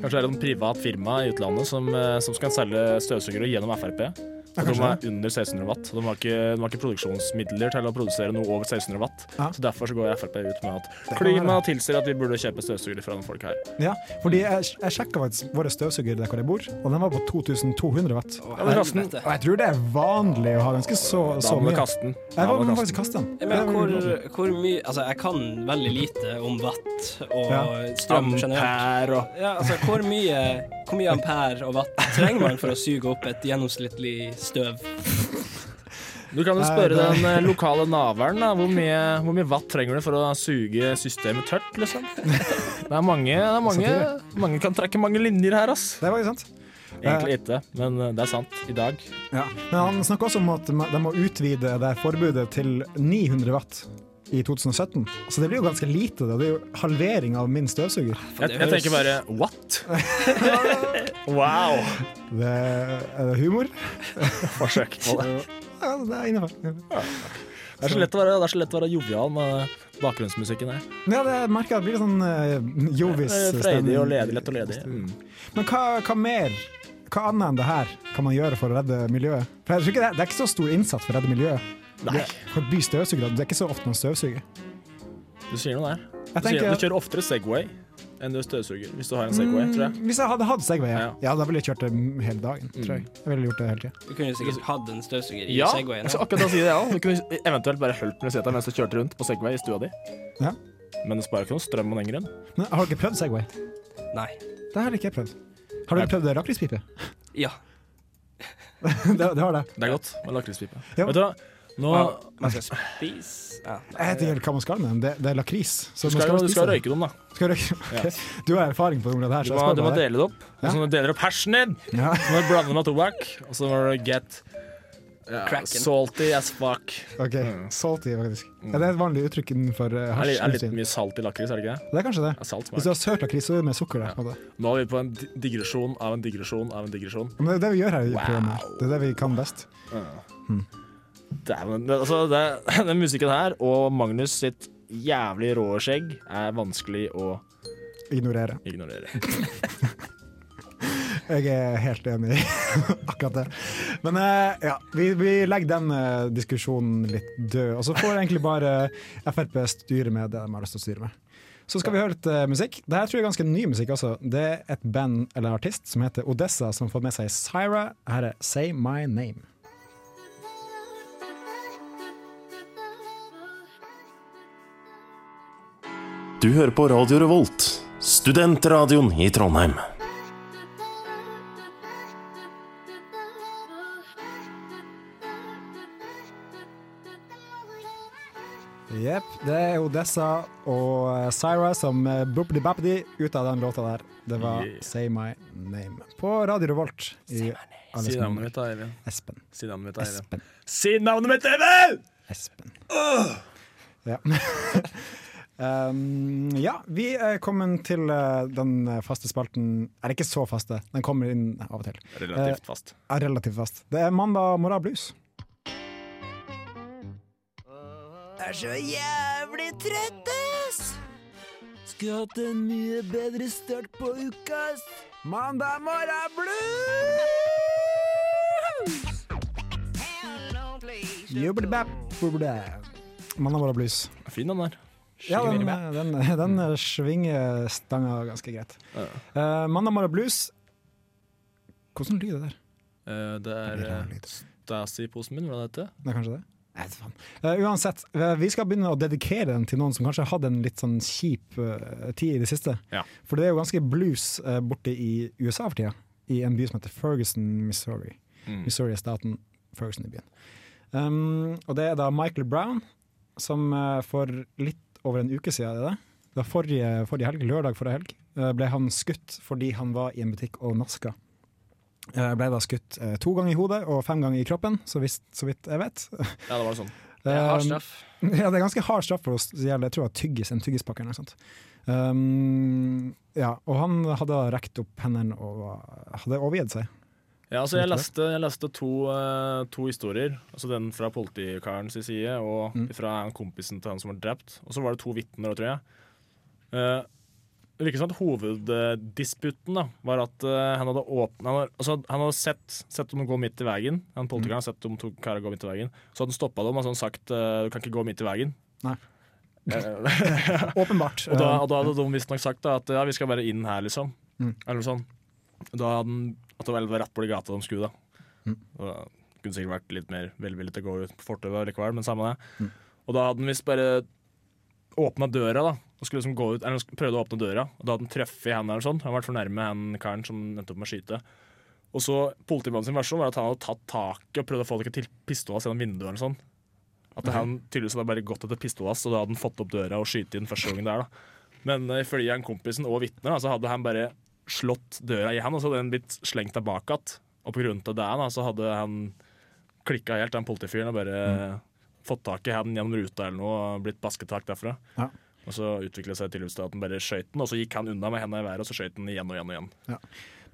Speaker 3: Kanskje det er et privat firma i utlandet som, eh, som skal selge støvsugere gjennom Frp.
Speaker 2: Ja,
Speaker 3: Og de
Speaker 2: kanskje
Speaker 3: er under 1600 watt. De har, ikke, de har ikke produksjonsmidler til å produsere noe over 1600 watt.
Speaker 2: Ja.
Speaker 3: Så Derfor så går Frp ut med at
Speaker 2: kan
Speaker 3: klima tilsier at vi burde kjøpe støvsugere fra de folka her.
Speaker 2: Ja, fordi jeg, jeg sjekka faktisk våre støvsugere der hvor jeg bor, og den var på 2200 watt.
Speaker 3: men kasten-
Speaker 2: og jeg tror det er vanlig å ha ganske så,
Speaker 3: Da
Speaker 2: så
Speaker 3: må du
Speaker 2: mye.
Speaker 3: kaste den. Da
Speaker 2: Jeg
Speaker 3: må
Speaker 2: var
Speaker 3: du
Speaker 2: må
Speaker 3: kaste
Speaker 2: faktisk kaste den.
Speaker 6: Jeg, mener, hvor, hvor mye, altså, jeg kan veldig lite om watt og
Speaker 2: Ja.
Speaker 6: strøm generelt.
Speaker 3: Ampere og-
Speaker 6: ja, altså, hvor, mye, hvor mye ampere og watt trenger man for å suge opp et gjennomsnittlig støv?
Speaker 3: Du kan jo
Speaker 6: Nei,
Speaker 3: spørre
Speaker 6: det-
Speaker 3: den eh, lokale naveren da, hvor mye, hvor mye watt trenger du for å suge systemet tørt, liksom. Det er mange, det er mange, mange kan trekke mange linjer her, ass.
Speaker 2: Det var jo sant.
Speaker 3: Egentlig ikke, men eh, det er sant i dag.
Speaker 2: Ja. Men han snakker også om at ma- de må utvide det forbudet til 900 watt i 2017. Så det blir jo ganske lite. Da. Det er jo halvering av min støvsuger.
Speaker 3: Jeg, jeg tenker bare what? [LAUGHS] Wow.
Speaker 2: Det, er det humor?
Speaker 3: Forsøk på det.
Speaker 2: Ja, det er innafor.
Speaker 3: Det er så lett å være, det er så lett å være jovial med bakgrunnsmusikken her.
Speaker 2: Ja, det jeg merker jeg. Det blir litt sånn uh,
Speaker 3: Det
Speaker 2: jovis
Speaker 3: er Freidig og ledig, lett og ledig. Mm.
Speaker 2: Men hva, hva mer? Hva annet enn det her kan man gjøre for å redde miljøet? For jeg tror ikke det, det er ikke så stor innsats for å redde miljøet.
Speaker 3: Nei.
Speaker 2: Det- Forby støvsugere. Det er ikke så ofte man støvsuger.
Speaker 3: Du sier noe der. Du,
Speaker 2: Jeg
Speaker 3: sier,
Speaker 2: tenker-
Speaker 3: du kjører oftere Segway enn du støvsuger, hvis du har en Segway, tror jeg.
Speaker 2: Mm, Hvis jeg hadde hatt Segway, ja. ja. Da ville jeg kjørt det mm, hele dagen, tror jeg. Jeg ville gjort det hele tiden.
Speaker 6: Du kunne jo sikkert hatt en støvsuger i
Speaker 3: Ja, altså-
Speaker 6: Segwayen.
Speaker 3: jeg skal akkurat da si det, ja. Du kunne eventuelt bare holdt med seta mens du kjørte rundt på Segway i stua di.
Speaker 2: Ja.
Speaker 3: Men det sparer ikke noe strøm av den grunn.
Speaker 2: Men har dere prøvd Segway?
Speaker 6: Nei.
Speaker 2: Det har ikke jeg prøvd. Har dere prøvd lakrispipe? [LAUGHS]
Speaker 6: Ja.
Speaker 2: det, det har det.
Speaker 3: Det er godt med lakrispipe.
Speaker 2: Ja.
Speaker 3: Vet du hva, nå
Speaker 2: Ja,
Speaker 6: Man skal spise ja.
Speaker 2: Jeg vet ikke helt hva man skal med dem. Det, det er lakris. så
Speaker 3: Du
Speaker 2: man
Speaker 3: skal, jo- du skal
Speaker 2: spise
Speaker 3: røyke dem, da.
Speaker 2: det. Skal røyke? Ok. [LAUGHS] Du har erfaring på det området her.
Speaker 3: Du
Speaker 2: så jeg
Speaker 3: må,
Speaker 2: spør
Speaker 3: du må
Speaker 2: bare det.
Speaker 3: dele det opp.
Speaker 2: Ja.
Speaker 3: Sånn at du deler opp hersen din.
Speaker 2: Ja.
Speaker 3: Så må du blande med tobakk, og så må du get ja,
Speaker 2: Kraken.
Speaker 3: salty as fuck.
Speaker 2: [LAUGHS] Ok, Salty, faktisk. Ja, det er et vanlig uttrykk innenfor eh,
Speaker 3: Det Mm. er litt- er litt
Speaker 2: hasjindustrien.
Speaker 3: mye salt i lakris, er det ikke det?
Speaker 2: Det er kanskje det.
Speaker 3: Ja, salt smak.
Speaker 2: Hvis du har søt lakris, så er det med sukker der. på en måte.
Speaker 3: Nå er vi på en di- digresjon av en digresjon av en digresjon.
Speaker 2: Men det er det vi gjør her i programmet. Det er det vi kan best.
Speaker 3: Dæven. det- Altså, det, [LAUGHS] den musikken her og Magnus sitt jævlig rå skjegg er vanskelig å
Speaker 2: Ignorere.
Speaker 3: ignorere.
Speaker 2: Jeg er helt enig i [LAUGHS] akkurat det. Men eh, ja, vi, vi legger den eh, diskusjonen litt død. Og så får egentlig bare Frp styre med det de har lyst til å styre med. Så skal vi høre litt eh, musikk. Dette tror jeg er ganske ny musikk også. Det er et band eller en artist som heter Odessa, som har fått med seg Syra. Her er Say My Name.
Speaker 12: Du hører på Radio Revolt, studentradioen i Trondheim.
Speaker 2: Jepp. Det er Odessa og eh, Syra som boppidi bappidi ut av den låta der. Det var
Speaker 3: Yeah.
Speaker 2: Say My Name på Radio Revolt. i alle
Speaker 3: Si
Speaker 2: sine
Speaker 3: navnet mitt, da, Eivind.
Speaker 2: Espen.
Speaker 3: Si navnet mitt, da,
Speaker 2: Espen.
Speaker 3: Eivind. Si navnet mitt, Eivind!
Speaker 2: Espen. Ja. [LAUGHS] um, ja, vi er kommet til eh, den faste spalten Er ikke så faste, den kommer inn av og til.
Speaker 3: Relativt fast.
Speaker 2: Eh, er relativt fast. Det er mandag morgen blues.
Speaker 13: Er så jævlig trøtt, ass! Skulle hatt en mye bedre start på uka, ass! Mandag morgen blues!
Speaker 2: Jubbelbap, bubbelbap. Mandag morgen blues.
Speaker 3: Fin den der.
Speaker 2: Ja, den, den, den svinger stanga ganske greit.
Speaker 3: Ja.
Speaker 2: Eh, mandag morgen blues Hvordan lyd er det der?
Speaker 3: Eh, det er eh, Stasi-posen min, hvordan heter det?
Speaker 2: Det er kanskje det? Nei, vet faen. Eh, uansett, eh, vi skal begynne å dedikere den til noen som kanskje har hatt en litt sånn kjip eh, tid i det siste.
Speaker 3: Ja.
Speaker 2: For det er jo ganske blues eh, borte i USA for tida, i en by som heter Ferguson, Missouri.
Speaker 3: Mm.
Speaker 2: Missouri er staten, Ferguson er byen. Um, og det er da Michael Brown som eh, for litt over en uke siden, er det det? Da forrige, forrige helg, lørdag forrige helg, eh, ble han skutt fordi han var i en butikk og naska. Eh, Ble da skutt eh, to ganger i hodet og fem ganger i kroppen, så, visst, så vidt jeg vet. [LAUGHS]
Speaker 3: Ja, det var det sånn.
Speaker 6: Det er hard straff.
Speaker 2: Um, [LAUGHS] Ja, det er ganske hard straff for å stjele jeg tror det var tyggis, en tyggispakke eller noe sånt. Um, ja, og han hadde da rekt opp hendene og var- hadde overgitt
Speaker 6: [LAUGHS]
Speaker 2: seg.
Speaker 3: Ja, altså jeg leste, jeg leste to, eh, to historier. Altså Den fra politikarens side og fra han kompisen til han som var drept. Og så var det to vitner, tror jeg. Eh, det virker som at hoveddisputten da, var at eh, han hadde åpnet, han, var- altså, han hadde sett, sett dem gå midt i veien. Han politikeren hadde sett de to karene gå midt i veien. Så hadde han stoppa dem og så hadde han sagt eh, du kan ikke gå midt i veien.
Speaker 2: Nei.
Speaker 3: Eh, [LAUGHS]
Speaker 2: Åpenbart. Um,
Speaker 3: og da, og da hadde de visstnok sagt da, at ja, vi skal bare inn her, liksom.
Speaker 2: Mm.
Speaker 3: Eller noe sånt. Da hadde den, at det var rett på de gata de skulle, da.
Speaker 2: Mm.
Speaker 3: Og da kunne det sikkert vært litt mer velvillig til å gå ut på fortauet likevel, men samme det.
Speaker 2: Mm.
Speaker 3: Og da hadde den visst bare åpna døra, da. Og skulle liksom gå ut, eller sk- prøvde å åpne døra, og da hadde den truffet han eller sånn. Han var for nærme han karen som endte opp med å skyte. Og så Politimannen sin versjon var at han hadde tatt taket og prøvd å få det ikke til pistola gjennom vinduet. eller sånn. At
Speaker 2: Ok.
Speaker 3: han tydeligvis hadde bare gått etter pistola, så da hadde han fått opp døra og skyte inn første gangen der. da. Men eh, ifølge han kompisen og vitner da, så hadde han bare slått døra i han, og så hadde den blitt slengt tilbake igjen. Og på grunn av det da, så hadde han klikka helt, den politifyren, og bare fått tak i han gjennom ruta eller noe og blitt basketak derfra.
Speaker 2: Ja.
Speaker 3: Og så utvikla seg til at han bare skjøt den, og så gikk han unna med hendene i været, og så skjøt han igjen og igjen og igjen.
Speaker 2: Ja.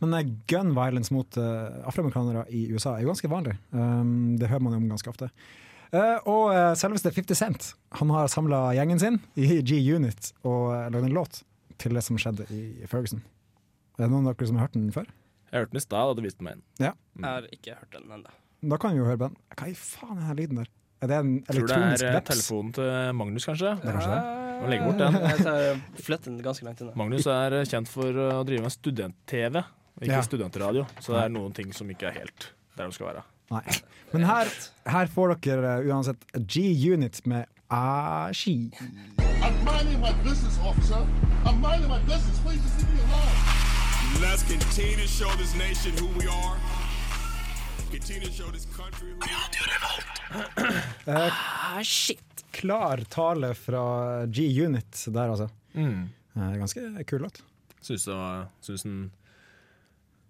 Speaker 2: Men eh, gun violence mot eh, afroamerikanere i USA er jo ganske vanlig. Um, det hører man jo om ganske ofte. Eh, og eh, selveste 50 Cent Han har samla gjengen sin i G-Unit og uh, lagd en låt til det som skjedde i Ferguson. Er det noen av dere som har hørt den før?
Speaker 3: Jeg hørte den i stad, og det viste meg en.
Speaker 2: Ja.
Speaker 3: Mm.
Speaker 6: Jeg har ikke hørt den ennå.
Speaker 2: Da kan vi jo høre på den. Hva i faen er den lyden der? Er det en
Speaker 3: Tror det
Speaker 2: elektronisk
Speaker 3: er eh,
Speaker 2: veps?
Speaker 3: telefonen til Magnus, kanskje?
Speaker 2: Det er kanskje det.
Speaker 3: Må legge bort den.
Speaker 6: Jeg tar flytter den ganske langt unna.
Speaker 3: Magnus er eh, kjent for eh, å drive med student-TV, og ikke
Speaker 2: Ja.
Speaker 3: studentradio. Så det er noen ting som ikke er helt der de skal være.
Speaker 2: Nei. Men her, her får dere eh, uansett G-Unit med Ashi.
Speaker 14: I'm minding my business, officer. I'm minding my business. Please just leave me alone. Let's continue to show this nation who we are. Continue to show this country who we are.
Speaker 2: Eh, Klar tale fra G-Unit der, altså.
Speaker 3: Mm.
Speaker 2: Eh, ganske kul låt.
Speaker 3: Syns det var Syns den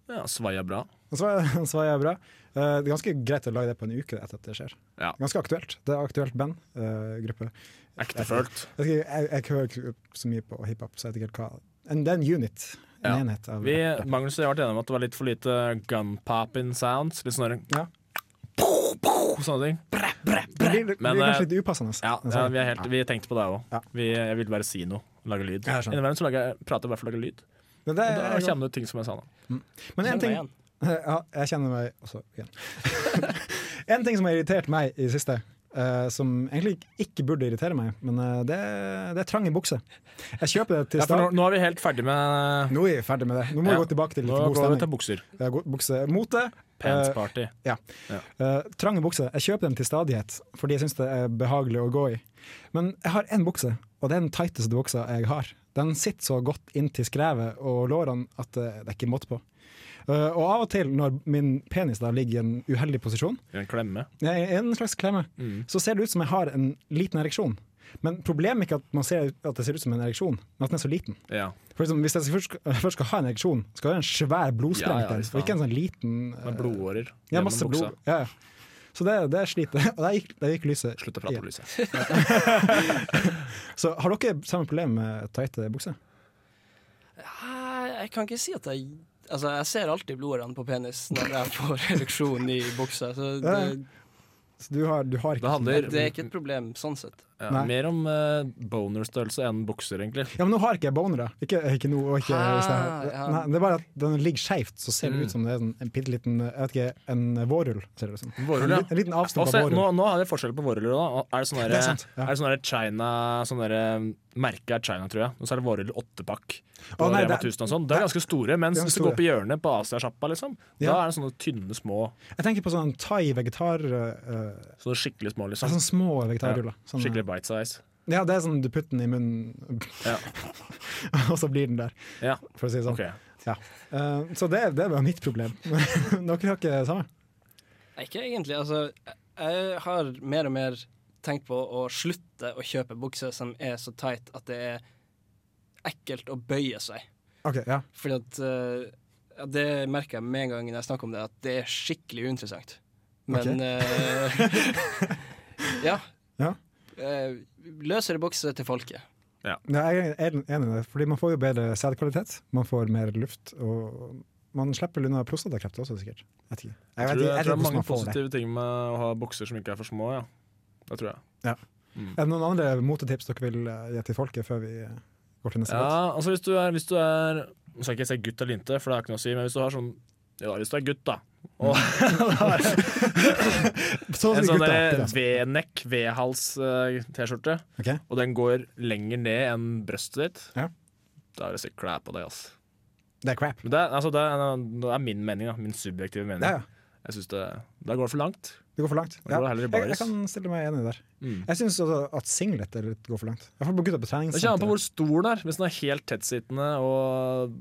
Speaker 3: ja, svaia bra.
Speaker 2: [LAUGHS] Og så var- så var jeg bra. Eh, det er ganske greit å lage det på en uke etter at det skjer.
Speaker 3: Ja.
Speaker 2: Ganske aktuelt. Det er aktuelt band, eh, gruppe.
Speaker 3: Ektefølt.
Speaker 2: Jeg, jeg, jeg, jeg hører ikke så mye på hiphop, så jeg vet ikke helt hva En- Det er en unit. En enhet av
Speaker 3: Vi, Magnus og jeg ble enige om at det var litt for lite gun-popping sounds. Litt sånne, sånne ting.
Speaker 2: Det blir, det
Speaker 3: Men,
Speaker 2: blir
Speaker 3: eh,
Speaker 2: kanskje litt upassende. altså.
Speaker 3: Ja,
Speaker 2: Men
Speaker 3: ja
Speaker 2: så-
Speaker 3: vi, er helt, vi tenkte på det òg. Jeg ville bare si noe. Lage lyd.
Speaker 2: Jeg skjønner.
Speaker 3: Innimellom så lager jeg- prater jeg bare for å lage lyd.
Speaker 2: Men
Speaker 3: Og da
Speaker 2: det er-
Speaker 3: kommer det ting som jeg sa nå.
Speaker 2: Men en
Speaker 3: Kjenner
Speaker 2: ting ja, Jeg kjenner meg også igjen. [LAUGHS] en ting som har irritert meg i det siste, eh, som egentlig ikke burde irritere meg, men eh, det, det er trange bukser. Jeg kjøper det til
Speaker 3: Ja, for nå,
Speaker 2: start.
Speaker 3: nå er vi helt ferdig med
Speaker 2: Nå er vi ferdig med det. Nå må
Speaker 3: Ja.
Speaker 2: vi gå tilbake til litt
Speaker 3: Nå
Speaker 2: god
Speaker 3: går vi
Speaker 2: stemning.
Speaker 3: til bukser.
Speaker 2: Ja, go- bukse. Mote.
Speaker 3: Pants
Speaker 2: eh,
Speaker 3: party.
Speaker 2: ja.
Speaker 3: Ja.
Speaker 2: Eh, trange bukser. Jeg kjøper dem til stadighet fordi jeg syns det er behagelig å gå i. Men jeg har én bukse, og det er den tighteste buksa jeg har. Den sitter så godt inntil skrevet og lårene at eh, det er ikke måte på. Eh, og av og til, når min penis da ligger i en uheldig posisjon,
Speaker 3: I en klemme.
Speaker 2: ja, i en slags klemme,
Speaker 3: Mm.
Speaker 2: så ser det ut som jeg har en liten ereksjon. Men problemet er ikke at man ser at det ser ut som en ereksjon, men at den er så liten.
Speaker 3: Ja.
Speaker 2: For eksempel, hvis jeg skal- først skal, først skal ha en ereksjon, skal jeg ha en svær blodsprengt
Speaker 3: Ja, ja,
Speaker 2: en,
Speaker 3: faen.
Speaker 2: og ikke en sånn liten eh,
Speaker 3: Med blodårer
Speaker 2: Ja,
Speaker 3: gjennom
Speaker 2: masse
Speaker 3: buksa.
Speaker 2: blod. Ja, ja. Så det, det sliter. Og der gikk, der gikk lyset.
Speaker 3: Slutt å prate om lyset.
Speaker 6: [LAUGHS]
Speaker 2: Så har dere samme problem med tighte bukser?
Speaker 6: Jeg jeg kan ikke si at jeg Altså, jeg ser alltid blodårene på penis når jeg får [LAUGHS] reduksjon i buksa, så det,
Speaker 2: Så du har, du har ikke
Speaker 3: handler-
Speaker 6: det er ikke et problem sånn sett.
Speaker 3: Ja,
Speaker 2: Nei.
Speaker 3: mer om eh, bonerstørrelse enn bukser, egentlig.
Speaker 2: Ja, men nå har ikke jeg boner, da. Ikke, ikke nå, og ikke i
Speaker 6: Ah,
Speaker 2: sted.
Speaker 6: ja.
Speaker 2: Nei, det er bare at den ligger skeivt, så ser
Speaker 3: Mm.
Speaker 2: det ut som det er sånn en bitte liten Jeg vet ikke, en vårrull, ser det ut som. en,
Speaker 3: Vårrull, ja.
Speaker 2: li- en liten avstand
Speaker 3: Også,
Speaker 2: fra vårrull.
Speaker 3: nå, nå har vi forskjell på vårruller. da. Er det sånn
Speaker 2: Det er
Speaker 3: derre
Speaker 2: sant,
Speaker 3: er det sånn derre China sånn derre Merket er China, tror jeg. Og så er det vårruller åttepakk.
Speaker 2: Å,
Speaker 3: På
Speaker 2: nei,
Speaker 3: Rema
Speaker 2: det er-
Speaker 3: 1000 og sånn. De er ganske store, mens
Speaker 2: ganske
Speaker 3: hvis du går
Speaker 2: store.
Speaker 3: på hjørnet på Asiasjappa, liksom, da
Speaker 2: Ja.
Speaker 3: er det sånne tynne, små
Speaker 2: Jeg tenker på sånn thai-vegetar... eh,
Speaker 3: Sånne skikkelig små, liksom.
Speaker 2: sånn små vegetarruller.
Speaker 3: Ja.
Speaker 2: Sånn,
Speaker 3: Skikkelig bite size.
Speaker 2: Ja, det er sånn du putter den i munnen,
Speaker 3: Ja.
Speaker 2: [LAUGHS] og så blir den der,
Speaker 3: Ja.
Speaker 2: for å si det sånn.
Speaker 3: Ok.
Speaker 2: Ja. Eh, så det, det var mitt problem. [LAUGHS] Dere har ikke det samme?
Speaker 6: Nei, ikke egentlig. Altså, jeg- jeg har mer og mer tenkt på å slutte å kjøpe bukser som er så tight at det er ekkelt å bøye seg.
Speaker 2: Ok, ja.
Speaker 6: Fordi at eh, ja, Det merker jeg med en gang når jeg snakker om det, at det er skikkelig uinteressant. Men
Speaker 2: Ok.
Speaker 6: eh, [LAUGHS] Ja.
Speaker 2: [LAUGHS] Ja.
Speaker 6: Eh, løsere bukse til folket.
Speaker 2: Nei, jeg er enig enig i det, fordi man får jo bedre sædkvalitet. Man får mer luft, og man slipper unna prostatakreft også, sikkert. Jeg vet ikke.
Speaker 3: Jeg
Speaker 2: vet ikke- vet
Speaker 3: tror, jeg tror det
Speaker 2: ikke
Speaker 3: er
Speaker 2: hvordan
Speaker 3: mange
Speaker 2: man får det.
Speaker 3: positive ting med å ha bukser som ikke er for små. ja. Det tror jeg.
Speaker 2: Ja.
Speaker 3: Mm.
Speaker 2: Er det noen andre motetips dere vil eh, gi til folket før vi eh, går til neste låt?
Speaker 3: Ja, altså hvis du er, hvis du er Nå skal jeg ikke si gutt eller jente, for det har ikke noe å si, men hvis du har sånn Ja, hvis du er gutt, da. Og,
Speaker 2: Så
Speaker 3: en
Speaker 2: gutt,
Speaker 3: sånn
Speaker 2: da,
Speaker 3: der
Speaker 2: gutt, altså.
Speaker 3: V-nekk, V-hals-T-skjorte,
Speaker 2: Ok.
Speaker 3: eh, og den går lenger ned enn brøstet ditt,
Speaker 2: Ja.
Speaker 3: da er det sikkert crap på deg, ass.
Speaker 2: Det er crap.
Speaker 3: Men det, er- altså, det, er, det er min mening, da. Min subjektive mening.
Speaker 2: Ja, ja.
Speaker 3: Jeg synes det, Da går det for langt.
Speaker 2: Det går for langt.
Speaker 3: Da går det heller i
Speaker 2: Jeg, jeg
Speaker 3: baris.
Speaker 2: kan stille meg enig der.
Speaker 3: Mm.
Speaker 2: Jeg syns også at singlet er litt går for langt. Jeg får på gutta på
Speaker 3: Det kommer an på
Speaker 2: treningssenteret.
Speaker 3: hvor stor den er. Hvis den er helt tettsittende og,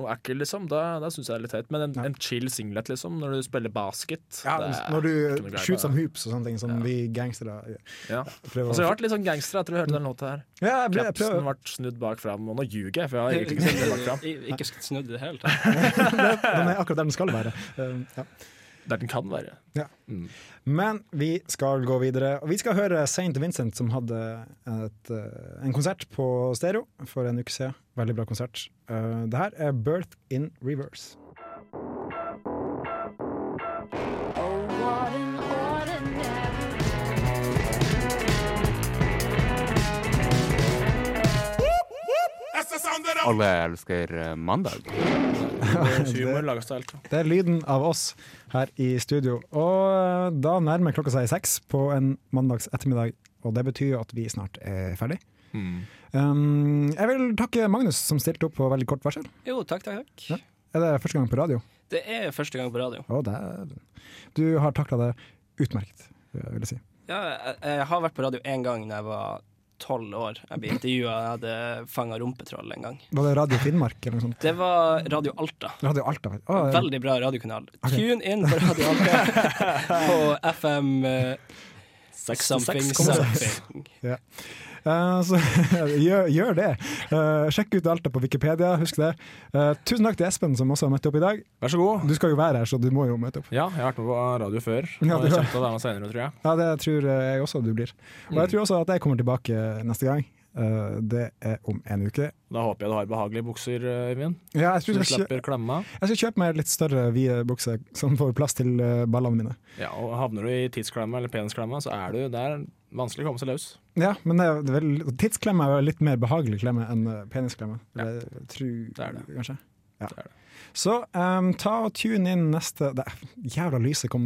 Speaker 3: og ekkel, liksom, da, da syns jeg det er litt teit. Men en, en chill singlet, liksom, når du spiller basket
Speaker 2: Ja,
Speaker 3: det er
Speaker 2: når
Speaker 3: ikke
Speaker 2: du
Speaker 3: noe greier
Speaker 2: shoots
Speaker 3: med
Speaker 2: som
Speaker 3: det.
Speaker 2: hoops og sånne ting, som vi gangstere gjør.
Speaker 3: Ja.
Speaker 2: prøver å-
Speaker 3: Altså, jeg har vært litt sånn gangster etter å høre den låta her.
Speaker 2: Ja, jeg ble- jeg
Speaker 3: Klapsen
Speaker 2: prøver-
Speaker 3: ble snudd bak fram, og nå ljuger jeg, for jeg har egentlig ikke snudd den bak
Speaker 2: [LAUGHS]
Speaker 3: fram.
Speaker 6: I- Ikke snudd i det hele
Speaker 2: Den
Speaker 6: tatt.
Speaker 2: er akkurat der den skal være. Um, ja.
Speaker 3: Der den kan være.
Speaker 2: Ja. Men vi skal gå videre. Og vi skal høre St. Vincent, som hadde et, eh, en konsert på stereo for en uke siden. Veldig bra konsert. Eh, det her er 'Birth in Reverse'.
Speaker 14: That's the sound that
Speaker 15: Alle elsker eh, mandag.
Speaker 3: Humor lages av alt.
Speaker 2: Det er lyden av oss her i studio. Og eh, da nærmer klokka seg seks på en mandags ettermiddag, og det betyr jo at vi snart er ferdig. Um, jeg vil takke Magnus, som stilte opp på veldig kort varsel.
Speaker 6: Jo, takk, takk, takk.
Speaker 2: Ja. Er det første gang på radio?
Speaker 6: Det er første gang på radio.
Speaker 2: Å, dæven. Du har takla det utmerket, vil jeg si.
Speaker 6: Ja, jeg, jeg har vært på radio én gang da jeg var tolv år. Jeg ble intervjua, jeg hadde fanga rumpetroll en gang.
Speaker 2: Var det Radio Finnmark eller noe sånt?
Speaker 6: Det var Radio Alta.
Speaker 2: Radio Alta. vet du. Å, Ah, ja.
Speaker 6: Veldig bra radiokanal. Tune inn på Radio Alta på FM eh, something, something.
Speaker 2: Ja. Eh, så [LAUGHS] gjør, gjør det. Eh, sjekk ut Alta på Wikipedia, husk det. Eh, tusen takk til Espen som også har møtt opp i dag.
Speaker 3: Vær så god.
Speaker 2: Du skal jo være her, så du må jo møte opp.
Speaker 3: Ja, jeg har vært med på radio før. Og
Speaker 2: Ja, du
Speaker 3: jeg
Speaker 2: har.
Speaker 3: kommer til å være med senere, tror jeg.
Speaker 2: Ja, det tror jeg også du blir. Og
Speaker 3: Mm.
Speaker 2: jeg tror også at jeg kommer tilbake neste gang. Eh, det er om en uke.
Speaker 3: Da håper jeg du har behagelige bukser, eh, Øyvind.
Speaker 2: Ja, jeg
Speaker 3: Så
Speaker 2: tror
Speaker 3: du
Speaker 2: jeg skal-
Speaker 3: slipper klemma.
Speaker 2: Jeg skal kjøpe meg litt større vide bukser som får plass til eh, ballene mine.
Speaker 3: Ja, og havner du i tidsklemma eller penisklemma, så er du der. Vanskelig å komme seg løs.
Speaker 2: Ja, men det er vel, tidsklemme er jo litt mer behagelig klemme enn eh, penisklemme. Eller, det er det. Kanskje. Ja. Så em, ta og tune inn neste det, Jævla lyset kom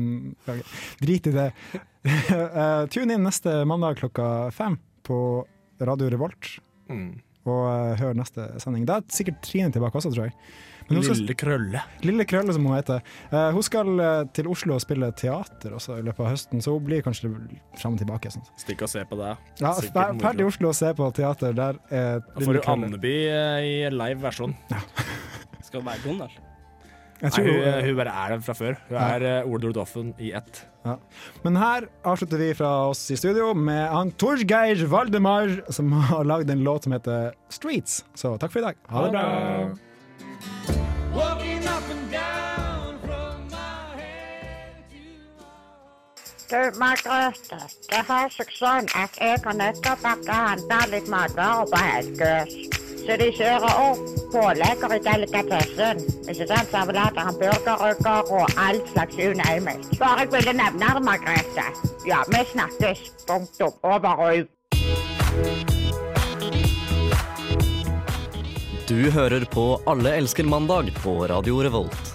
Speaker 2: Drit i det. [LAUGHS] Eh, tune inn neste mandag klokka fem på Radio Revolt.
Speaker 3: Mm.
Speaker 2: Og eh, hør neste sending. Da er sikkert Trine tilbake også, tror jeg. Men hun skal-
Speaker 3: Lille Krølle.
Speaker 2: Lille Krølle, som hun heter. Eh, hun skal eh, til Oslo og spille teater også i løpet av høsten, så hun blir kanskje fram og tilbake. Sånn.
Speaker 3: Stikk og se på det.
Speaker 2: Ja,
Speaker 3: Sikkert
Speaker 2: fer-
Speaker 3: moro.
Speaker 2: Ferd i Oslo og se på teater. Der er
Speaker 3: Da får
Speaker 2: Lille
Speaker 3: du
Speaker 2: Krølle.
Speaker 3: Andeby eh, i live versjon.
Speaker 6: Skal det være Donald?
Speaker 2: Jeg
Speaker 3: Nei,
Speaker 2: tror-
Speaker 3: hun, eh, hun bare er den fra før. Hun
Speaker 2: Ja.
Speaker 3: er eh, Ole Dordoffen i ett.
Speaker 2: Ja. Men her avslutter vi fra oss i studio med han Torgeir Valdemar, som har lagd en låt som heter 'Streets'. Så takk for i dag. Ha det bra.
Speaker 14: Walking up and down from my
Speaker 16: Du, Margrethe, det har seg sånn at jeg har nettopp vært og handla litt matvarer på Helgøs. Så de kjører opp pålegger i delikatessen. Ikke sant? Servelater, hamburgerrygger og all slags unøymelt. Bare jeg ville nevne det, Margrethe. Ja, vi snakkes. Punktum. Over og ut.
Speaker 17: Du hører på Alle elsker mandag på Radio Revolt.